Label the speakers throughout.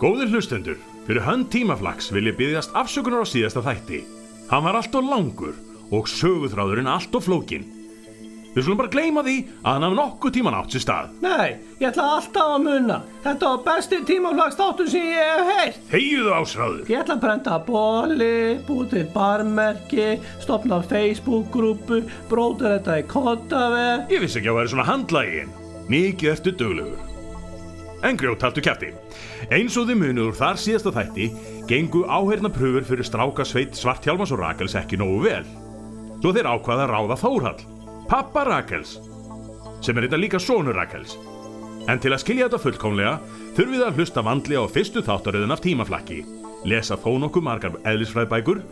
Speaker 1: Góðir hlustendur, fyrir hönd tímaflags vil ég byggjast afsökunar á síðasta þætti. Hann var allt og langur og söguþráðurinn allt og flókin. Við skulum bara gleyma því að hann hafði nokkuð tíman átt sér stað.
Speaker 2: Nei, ég ætla alltaf að muna. Þetta var besti tímaflagsþáttur sem ég hef heilt.
Speaker 1: Þegiðu ásráður.
Speaker 2: Ég ætla að brenda bóli, búið til barmerki, stopna Facebook-grúpu, bróður þetta í kottaver.
Speaker 1: Ég vissi ekki að það væri svona handlægin. Mikið ertu duglegur. En grjót haltu kæfti. Eins og þið munið úr þar síðasta þætti gengu áherna pröfur fyrir stráka sveit Svarthjálmans og Rakels ekki nógu vel. Svo þeir ákvaða að ráða Þórhall, pappa Rakels, sem er þetta líka sonur Rakels. En til að skilja þetta fullkomlega þurfið þið að hlusta vandlega á fyrstu þáttaröðin af tímaflakki, lesa þó nokkuð margar eðlisfræðbækur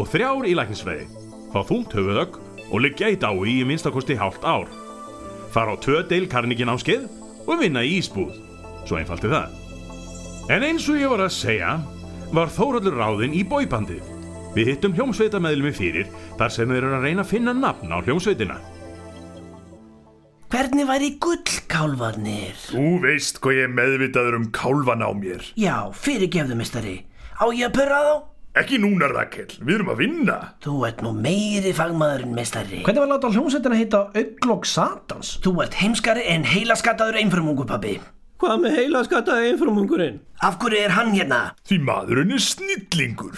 Speaker 1: og þrjár í læknisfræði, fá þungt höfuðögg og liggja í dái í minnstakosti hálft ár. Fara á tvö deil karningin áskeið og vinna í ísbúð. Svo einfalt er það. En eins og ég var að segja, var Þóraldur ráðinn í bóibandið. Við hittum hljómsveitameðlumi fyrir þar sem þeir eru að reyna að finna nafn á hljómsveitina.
Speaker 3: Hvernig væri gullkálvarnir?
Speaker 4: Þú veist hvað ég er meðvitaður um kálvan á mér.
Speaker 3: Já, fyrirgefðu, mistari. Á ég að purra þá?
Speaker 4: Ekki núna, Rakel. Við erum að vinna.
Speaker 3: Þú ert nú meiri fagmaðurinn, mistari.
Speaker 2: Hvernig var láta hljómsveitina heita Öglokk Satans?
Speaker 3: Þú ert heimskari en heilaskattaður einfrumungu, pabbi.
Speaker 2: Hvað með heila skattaði einfrumungurinn?
Speaker 3: Af hverju er hann hérna?
Speaker 4: Því maðurinn er snillingur.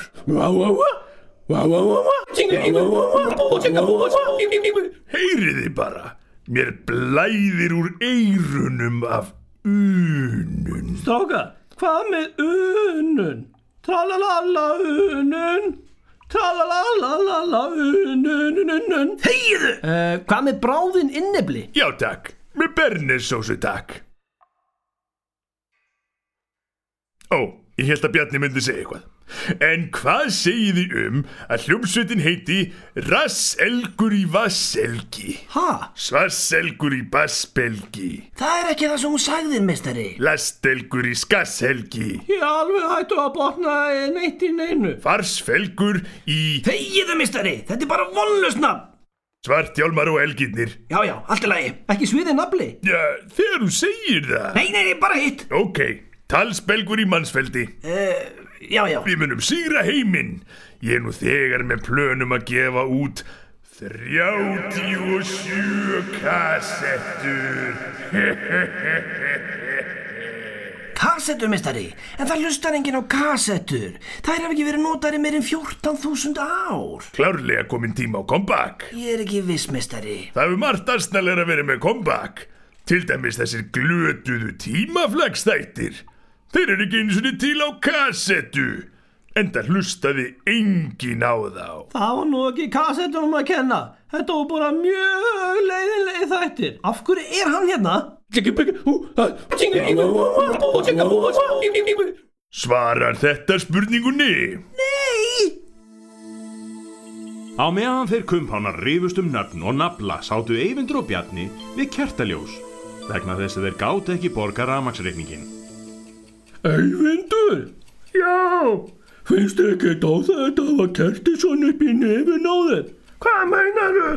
Speaker 4: Heyriði bara. Mér blæðir úr eyrunum af unun.
Speaker 2: Stráka, hvað með unun? Tralalala unun. Tralalala unun unun.
Speaker 3: Þegiðu!
Speaker 2: Uh, hvað með bráðin innibli?
Speaker 4: Já, takk. Með bernesósu, takk. Ó, ég held að Bjarni myndi segja eitthvað. En hvað segið þið um að hljómsveitin heiti Rasselgur í Vasselgi?
Speaker 2: Ha?
Speaker 4: Svarselgur í Bassbelgi.
Speaker 3: Það er ekki það sem hún sagði, mistari.
Speaker 4: Lastelgur í Skasshelgi.
Speaker 2: Ég er alveg hættu að botna neitt í neinu.
Speaker 4: Farsfelgur í
Speaker 3: Þegiðu, mistari. Þetta er bara vonlusnafn.
Speaker 4: Svartjálmar og Elginnir.
Speaker 3: Já, já, allt í lagi.
Speaker 2: Ekki sviði nafli.
Speaker 4: Já, þegar þú segir það.
Speaker 3: Nei, nei, nei, bara hitt.
Speaker 4: Ok, talsbelgur í mannsfeldi.
Speaker 3: Uh, já, já.
Speaker 4: Við munum sigra heiminn. Ég er nú þegar með plönum að gefa út 37 kassettur.
Speaker 3: Kassettur, mistari. En það hlustar enginn á kassettur. Þær hef ekki verið notari meir en 14.000 ár.
Speaker 4: Klárlega komin tíma á comeback.
Speaker 3: Ég er ekki viss, mistari.
Speaker 4: Það hefur margt aðsnalega verið með comeback. Til dæmis þessir glötuðu tímaflagstættir. Þeir eru ekki eins og til á kassetu. Enda hlustaði engin á þá.
Speaker 2: Það var nú ekki kassetunum að kenna. Þetta var bara mjög leiðinlega þættir. Af hverju er hann hérna?
Speaker 4: Svarar þetta spurningunni?
Speaker 1: Á meðan þeir kumpánar rifust um nöfn og nafla sátu Eyvindur og Bjarni við kertaljós vegna þess að þeir gáti ekki borga rafmaksreikningin.
Speaker 2: Eyvindur,
Speaker 4: Já,
Speaker 2: finnst þið ekki þá þetta að kerti svona upp í nefin á þeim?
Speaker 4: hvað meinaru?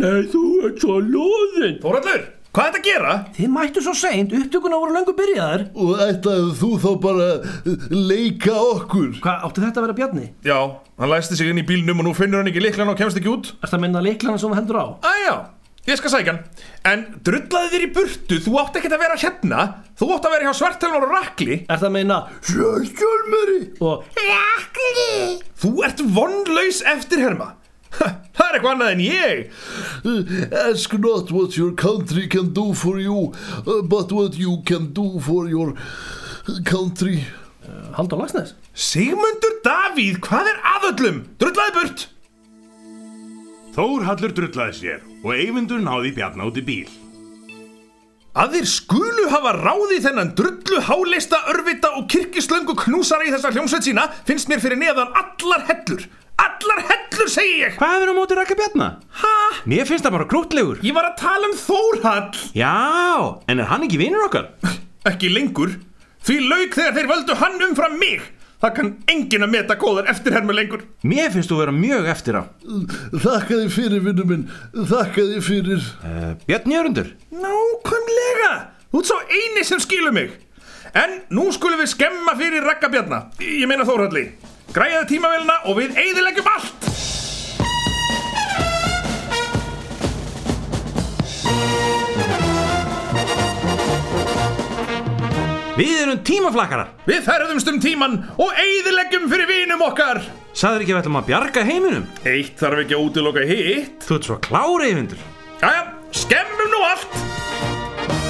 Speaker 2: Nei, þú ert svo loðinn.
Speaker 4: Þóraldur, hvað er þetta að gera?
Speaker 3: Þið mættu svo seint, upptökuna voru löngu byrjaðar.
Speaker 5: Og ætlaðu þú þá bara að leika okkur?
Speaker 2: Hvað átti þetta að vera Bjarni?
Speaker 4: Já, hann læsti sig inn í bílnum og nú finnur hann ekki liklan og kemst ekki út.
Speaker 2: Erst að minna leiklana sem þú hendur á?
Speaker 4: Æjá, Ah, ég skal sækja hann. En drullaði þér í burtu, þú átt ekkert að vera hérna. Þú átt að vera hjá svartelun og rakli.
Speaker 2: Erst að minna
Speaker 5: Sjálfjálmari!
Speaker 2: og
Speaker 4: Þú ert vonlaus eftirherma. Ha, Það er eitthvað annað en ég.
Speaker 5: Ask not what your country can do for you, uh, but what you can do for your country.
Speaker 2: Haldur Lagsnes.
Speaker 4: Sigmundur Davíð, hvað er aðöllum? Drullaði burt.
Speaker 1: Þórhallur drullaði sér og Eyvindur náði Bjarni út í bíl.
Speaker 4: Að þeir skulu hafa ráði þennan drullu háleista örvita og kirkislöngu knúsara í þessa hljómsveit sína finnst mér fyrir neðan allar hellur. Allar hellur, segi ég!
Speaker 1: Hvað hefur á móti Raka Bjarni?
Speaker 4: Ha?
Speaker 1: Mér finnst það bara grótlegur.
Speaker 4: Ég var að tala um Þórhall!
Speaker 1: Já, en er hann ekki vinnur okkar?
Speaker 4: Ekki lengur. Því lauk þegar þeir völdu hann umfram mig. Það kann enginn að meta góðar eftirhermu lengur.
Speaker 1: Mér finnst þú vera mjög eftir á.
Speaker 5: Þakka þið fyrir, vinnu minn. Þakka þið fyrir.
Speaker 1: Uh, Bjarni Jörundur,
Speaker 4: Nákvæmlega! Þú ert sá eini sem skilur mig. En nú skulum við skemma fyrir raggabjarna Ég meina Þórhalli Græjaði tímavélina og við eyðileggjum allt
Speaker 6: Við erum tímaflakkarar.
Speaker 4: Við ferðumst um tíman og eyðileggjum fyrir vinum okkar
Speaker 6: Saður ekki að við ætlum að bjarga heiminum?
Speaker 4: Eitt þarf ekki að útiloka hitt
Speaker 6: Þú ert svo klárið hundur.
Speaker 4: Jæja, skemmum nú allt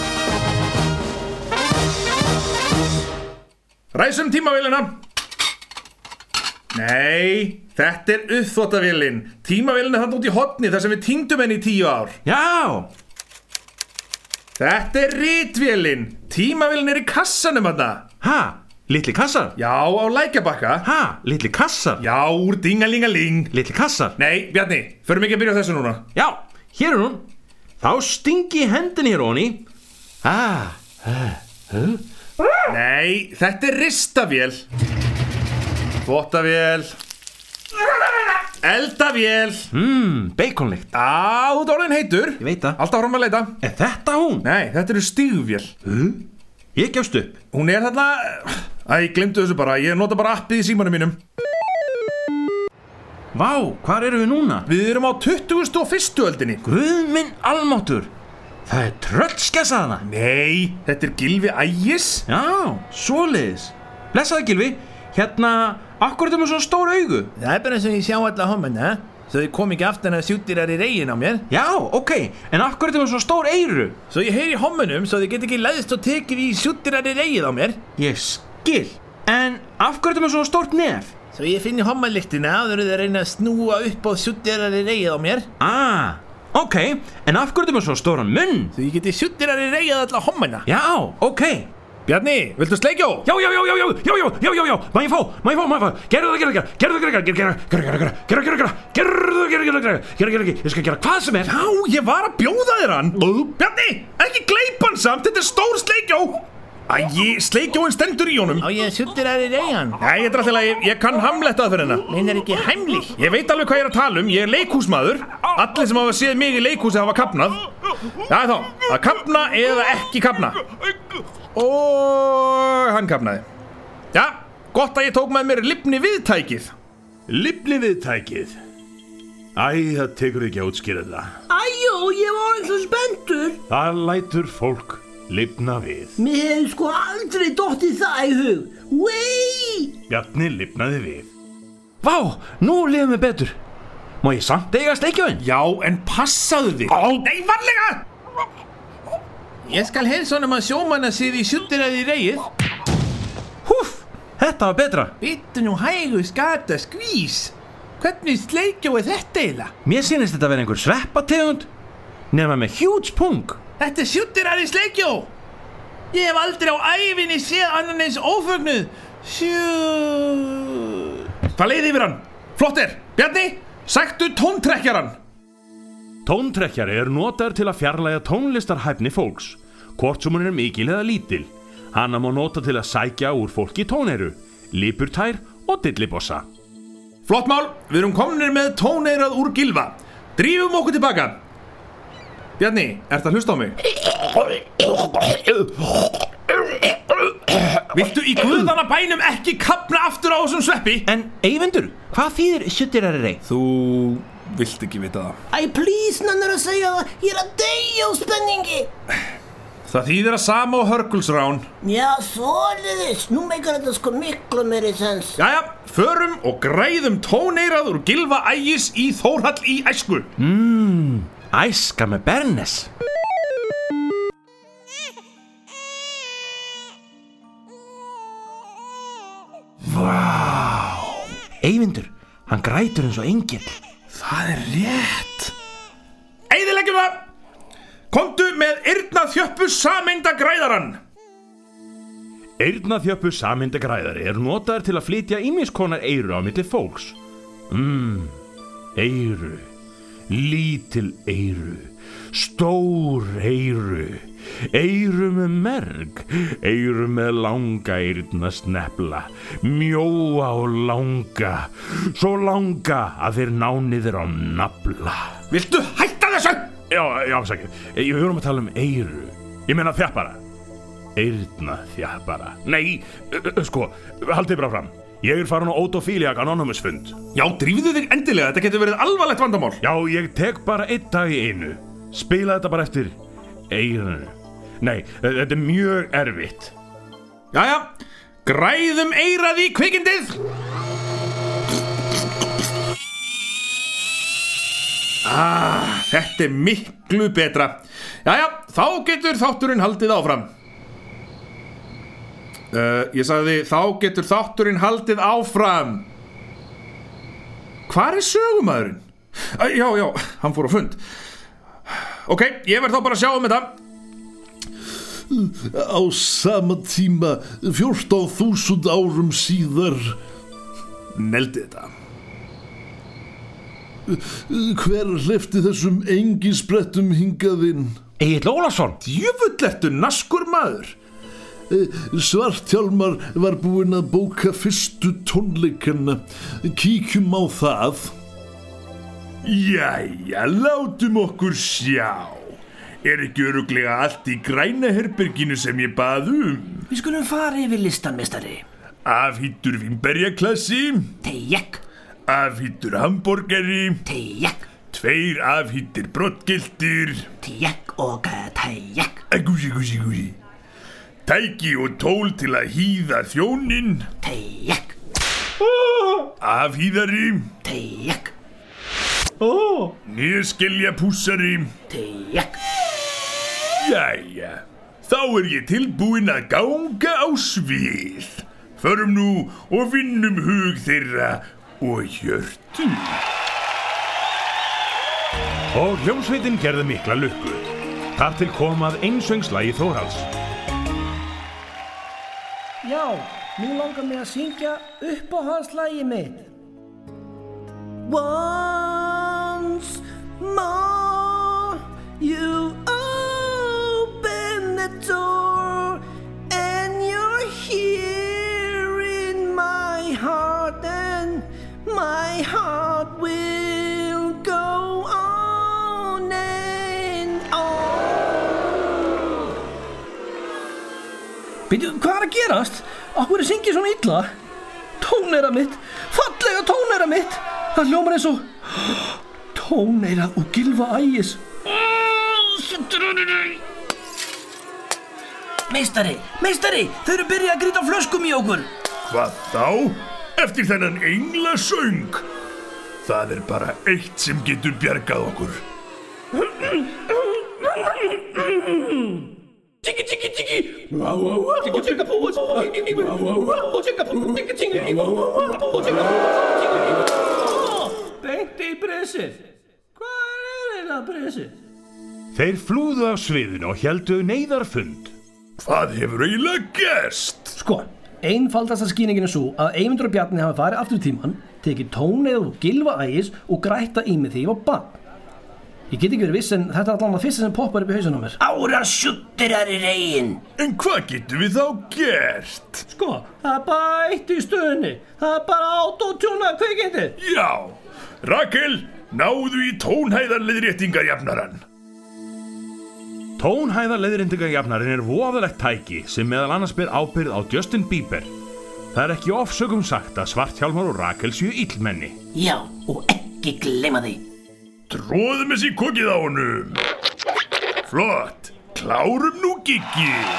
Speaker 4: Ræsum tímavélina Nei, þetta er uppþvottavélin Tímavélin er þannig út í hotni þar sem við týndum henni í tíu ár
Speaker 6: Já,
Speaker 4: Þetta er ritvélin Tímavélin er í kassanum þarna
Speaker 6: ha, litli kassar.
Speaker 4: Já, á lækjabakka
Speaker 6: Ha, litli kassar.
Speaker 4: Já, úr dingalingaling
Speaker 6: Litli kassar.
Speaker 4: Nei, Bjarni, förum ekki að byrja á þessu núna
Speaker 6: Já, hér er hún. Þá stingi hendin hér onni. Ah,
Speaker 4: Nei, þetta er ristavél Þvottavél Eldavél
Speaker 6: mmm, baconlegt.
Speaker 4: Á, þú ert orðin heitur
Speaker 6: Ég veit það.
Speaker 4: Alltaf fram að leita
Speaker 6: Er þetta hún?
Speaker 4: Nei, þetta eru stígvél
Speaker 6: Ég gefst upp.
Speaker 4: Hún er þarna Æ, ég glemdu þessu bara Ég nota bara appið í símanum mínum
Speaker 6: Vá, hvar eru við núna?
Speaker 4: Við erum á 20. og 1. öldinni
Speaker 6: Guð minn almáttur. Það er tröllskessaðana.
Speaker 4: Nei, þetta er gilfi ægis
Speaker 6: Já, svoleiðis. Blessaði Gilvi, hérna, akkur þetta með svona stór augu?
Speaker 7: Það er bara eins og ég sjá alla homana Svo ég kom ekki aftan að sjúttir í regin á mér
Speaker 6: Já, ok, en akkur þetta með svona stór eyru?
Speaker 7: Svo ég heyri homunum svo þið get ekki læðist og tekið í sjúttir í regið á mér
Speaker 6: Ég skil, en af hverju þetta með svona stórt nef?
Speaker 7: Svo ég finni homalyktina áður en þið reyna að snúa upp á sjúttir í regið á mér
Speaker 6: Ah, ok, en af hverju þetta með svona stóran munn?
Speaker 7: Svo ég geti sjúttir í regið alla homana
Speaker 6: Já, ok.
Speaker 4: Bjarni, viltu sleikjó?
Speaker 6: Já, já, já, já, já, já, já, já, já, já, má ég fá, má ég fá, má ég fá, gerðu það, gerðu það, gerðu það, gerðu það, gerðu það, gerðu það, gerðu það, gerðu það, gerðu það, gerðu það, gerðu það, gerðu það, gerðu það, gerðu það, gerðu það, gerðu það, ég skal gera hvað sem er.
Speaker 4: Já, ég var að bjóða þér hann Bjarni, ekki gleipan samt, þetta er stór sleikjó Æ, sleikjóin stendur í honum
Speaker 7: Á ég sjúttir í regin
Speaker 4: Nei, þetta er alltaf leið, ég kann hamletað fyrir hennar
Speaker 7: Minn er ekki heimlich
Speaker 4: Ég veit alveg hvað ég er að tala um, ég er leikúsmaður Allir sem hafa séð mig í leikúsi hafa kapnað Já, þá, að kapna eða ekki kapna Og hann kapnaði Já, gott að ég tók með mér lipni viðtækið
Speaker 1: Lifni við tækið. Æ, það tekur ekki að útskýra það.
Speaker 2: Æjó, ég var eins og spenntur.
Speaker 1: Það lætur fólk lifna við.
Speaker 2: Mér hefði sko aldrei dottið það í hug. Wey!
Speaker 1: Bjarni lifnaði við.
Speaker 6: Vá, nú líðum við betur. Má ég samt eiga sleikjóðinn?
Speaker 4: Já, en passaðu þig Ó, nei, varlega
Speaker 7: Ég skal helsa honum að sjómanna séð í sjúttir í regið
Speaker 6: Húf, þetta var betra.
Speaker 7: Vittu nú hægu skata skvís Hvernig sleikjó er þetta eiginlega?
Speaker 6: Mér sýnist þetta að vera einhver sveppategund, nema með hjúts pung.
Speaker 7: Þetta er sjúttirari sleikjó Ég hef aldrei á æfinni séð annan eins ófögnuð Sjú...
Speaker 4: Það leiði yfir hann Flott er, Bjarni, sæktu tóntrekkjaran
Speaker 1: Tóntrekkjari er notaður til að fjarlæga tónlistarhæfni fólks, hvort sem hún er mikil eða lítil. Hanna má nota til að sækja úr fólki tóneru, lipurtær og dillibossa.
Speaker 4: Flott mál, við erum komnir með tóneirað úr gilva Drífum okkur tilbaka Bjarni, ert að hlusta á mig? Viltu í guðana bænum ekki kapna aftur á þessum sveppi?
Speaker 6: En Eyvindur, hvað þýðir sjuttirari rey?
Speaker 4: Þú vilt ekki vita það
Speaker 2: Æ, please, nannar að segja það. Ég er að deyja á spenningi.
Speaker 4: Það þýðir að sama og hörgulsrán
Speaker 2: Já, svoleiðis. Nú meikar þetta sko miklu meiri sens.
Speaker 4: Jæja, förum og græðum tóneirað úr gilva ægis í Þórhall í æsku
Speaker 6: Æska með Bernes. Vá! Eyvindur, hann grætur eins og engill.
Speaker 4: Það er rétt Eðileggjum það Komdu með yrna þjöppu sameinda græðaran
Speaker 1: Eirnaþjöppu samindagræðari er notaður til að flytja ímiskonar eiru á milli fólks. Mmm, eiru, lítil eiru, stór eiru, eiru með merg, eiru með langa eirna snefla, mjóa og langa, svo langa að þeir nániður á nafla.
Speaker 4: Viltu hætta þessu?
Speaker 1: Eh, Já, já, sækir, ég höfum að tala um eiru, ég meina þjappara. Eyrna þjapara Nei, ö- ö- sko, haldið bara fram Ég er farin á Autofíliak Anonymous fund
Speaker 7: Já, drífðu þig endilega, þetta getur verið alvarlegt vandamál
Speaker 1: Já, ég tek bara einn dag í einu Spila þetta bara eftir Eyranu Nei, ö, þetta er mjög erfitt
Speaker 7: Jæja, græðum eirað í kvikindið Ah, þetta er miklu betra Jæja, þá getur þátturinn haldið áfram uh, Ég sagði, þá getur þátturinn haldið áfram Hvar er sögumæðurinn? Uh, já, já, hann fór á fund Ok, ég verð þá bara að sjá um þetta
Speaker 5: Á sama tíma 14.000 árum síðar
Speaker 7: Neldi þetta
Speaker 5: Hver hlifti þessum engisbrettum hingaðinn?
Speaker 6: Egil Ólafsson
Speaker 7: Djöfull ertu naskur maður
Speaker 5: Svartjálmar var búinn að bóka fyrstu tónleikana Kíkjum á það
Speaker 4: Jæja, látum okkur sjá. Er ekki öruglega allt í græna herberginu sem ég bað um?
Speaker 3: Við skulum fara yfir listan, mistari.
Speaker 4: Afhýttur vimberjaklassi,
Speaker 8: Tejek,
Speaker 4: afhýttur hambúrgari,
Speaker 8: tejek,
Speaker 4: tveir afhýttir brottgildir,
Speaker 8: tejek og eh, tejek,
Speaker 4: agúsi, agúsi, agúsi. Tæki og tól til að hýða þjónin,
Speaker 8: tejek,
Speaker 4: afhýðari,
Speaker 8: tejek,
Speaker 4: nýðskilja púsari.
Speaker 8: tejek.
Speaker 4: Jæja, þá er ég tilbúinn að ganga á svið. Förum nú og vinnum hug þeirra og hjörtu.
Speaker 1: Og hljómsveitin gerði mikla lukku Þar til kom að einsöngslægi Þórhals
Speaker 2: Já, nú langar mig að syngja upp á hans lægi mitt. Once more you open the door and you're here in my heart and my heart will go on and on. Býtu, hvað er að gerast? Akkur er syngið svona illa? Tóneira mitt, fallega tóneira mitt Það hljómar eins og Tóneira og gilfa ægis
Speaker 3: Meistari, meistari, þau eru byrjað að grýta flöskum í okkur.
Speaker 4: Hvað þá? Eftir þennan engla söng? Það er bara eitt sem getur bjargað okkur.
Speaker 2: Beint í brisið Hvað er þetta brisið?
Speaker 1: Þeir flúðu af sviðinu og heldu neyðarfund
Speaker 4: Hvað hefur eiginlega gerst?
Speaker 2: Sko, einfaldasta skýningin er svo að Eyvindur og Bjarni hafa farið aftur í tíman tekið tóneið og gilfa ægis og grætta í mig því ég var bann Ég get ekki verið viss en þetta er allan að fyrsta sem poppar upp í hausinn á mér
Speaker 3: Ára sjuttir er í regin.
Speaker 4: En hvað getum við þá gert?
Speaker 2: Sko, það er bara eitt í stöðunni Það er bara autotjúna kvikindi
Speaker 4: Já, Rakel, náðu í tónhæðarliðréttingar jafnaran.
Speaker 1: Tónhæða leðrindingajafnarinn er voðalegt tæki sem meðal annars ber ábyrð á Justin Bieber Það er ekki ofsökum sagt að Svarthjálmar og Rakel séu illmenni
Speaker 8: Já, og ekki gleyma því.
Speaker 4: Tróðum þessi kokið á honum. Flott, klárum nú giggið.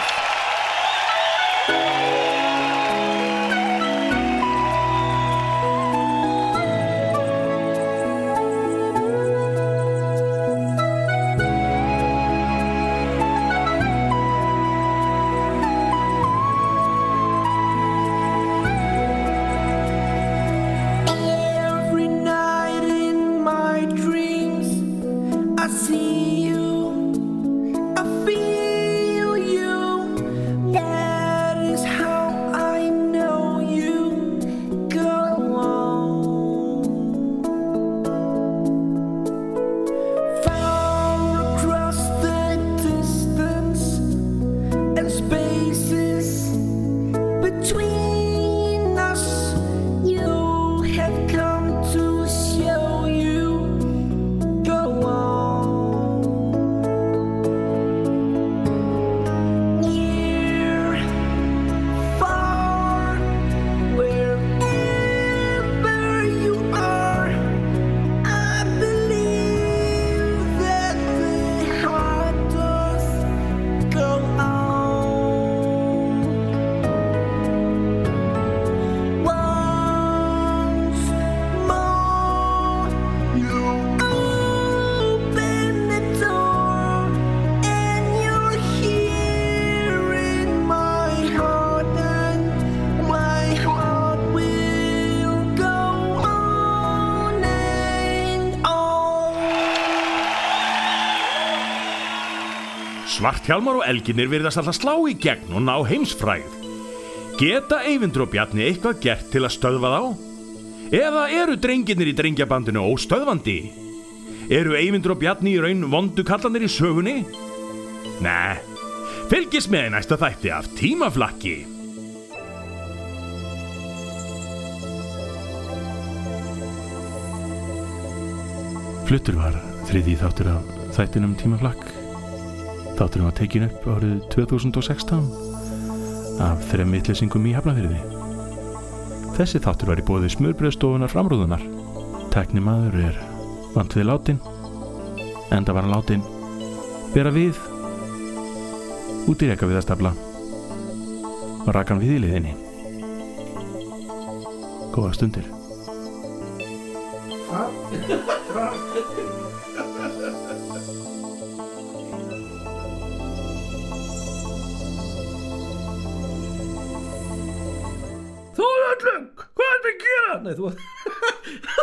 Speaker 2: Every night in my dreams, I see you, I feel you,
Speaker 1: Svarthjálmar og elginir virðast alltaf slá í gegn og ná heimsfræð. Geta Eyvindur og Bjarni eitthvað gert til að stöðva þá? Eða eru drenginir í drengjabandinu óstöðvandi? Eru Eyvindur og Bjarni í raun vondu kallanir í sögunni? Nei, fylgis með í næsta þætti af Tímaflakki.
Speaker 9: Fluttur var þriði þáttur af þættinum Tímaflakk. Þátturinn var tekin upp árið 2016 af þrem vittlesingum í Hafnafyrði. Þessi þáttur var í bóði smörbröðstofunar framrúðunar. Teknimaður er vant við látin, enda var hann látin, bera við, út í reka við að stafla og rakan við í liðinni. Góða stundir.
Speaker 2: Þórhallung, hvað er það að gera? Nei, þú...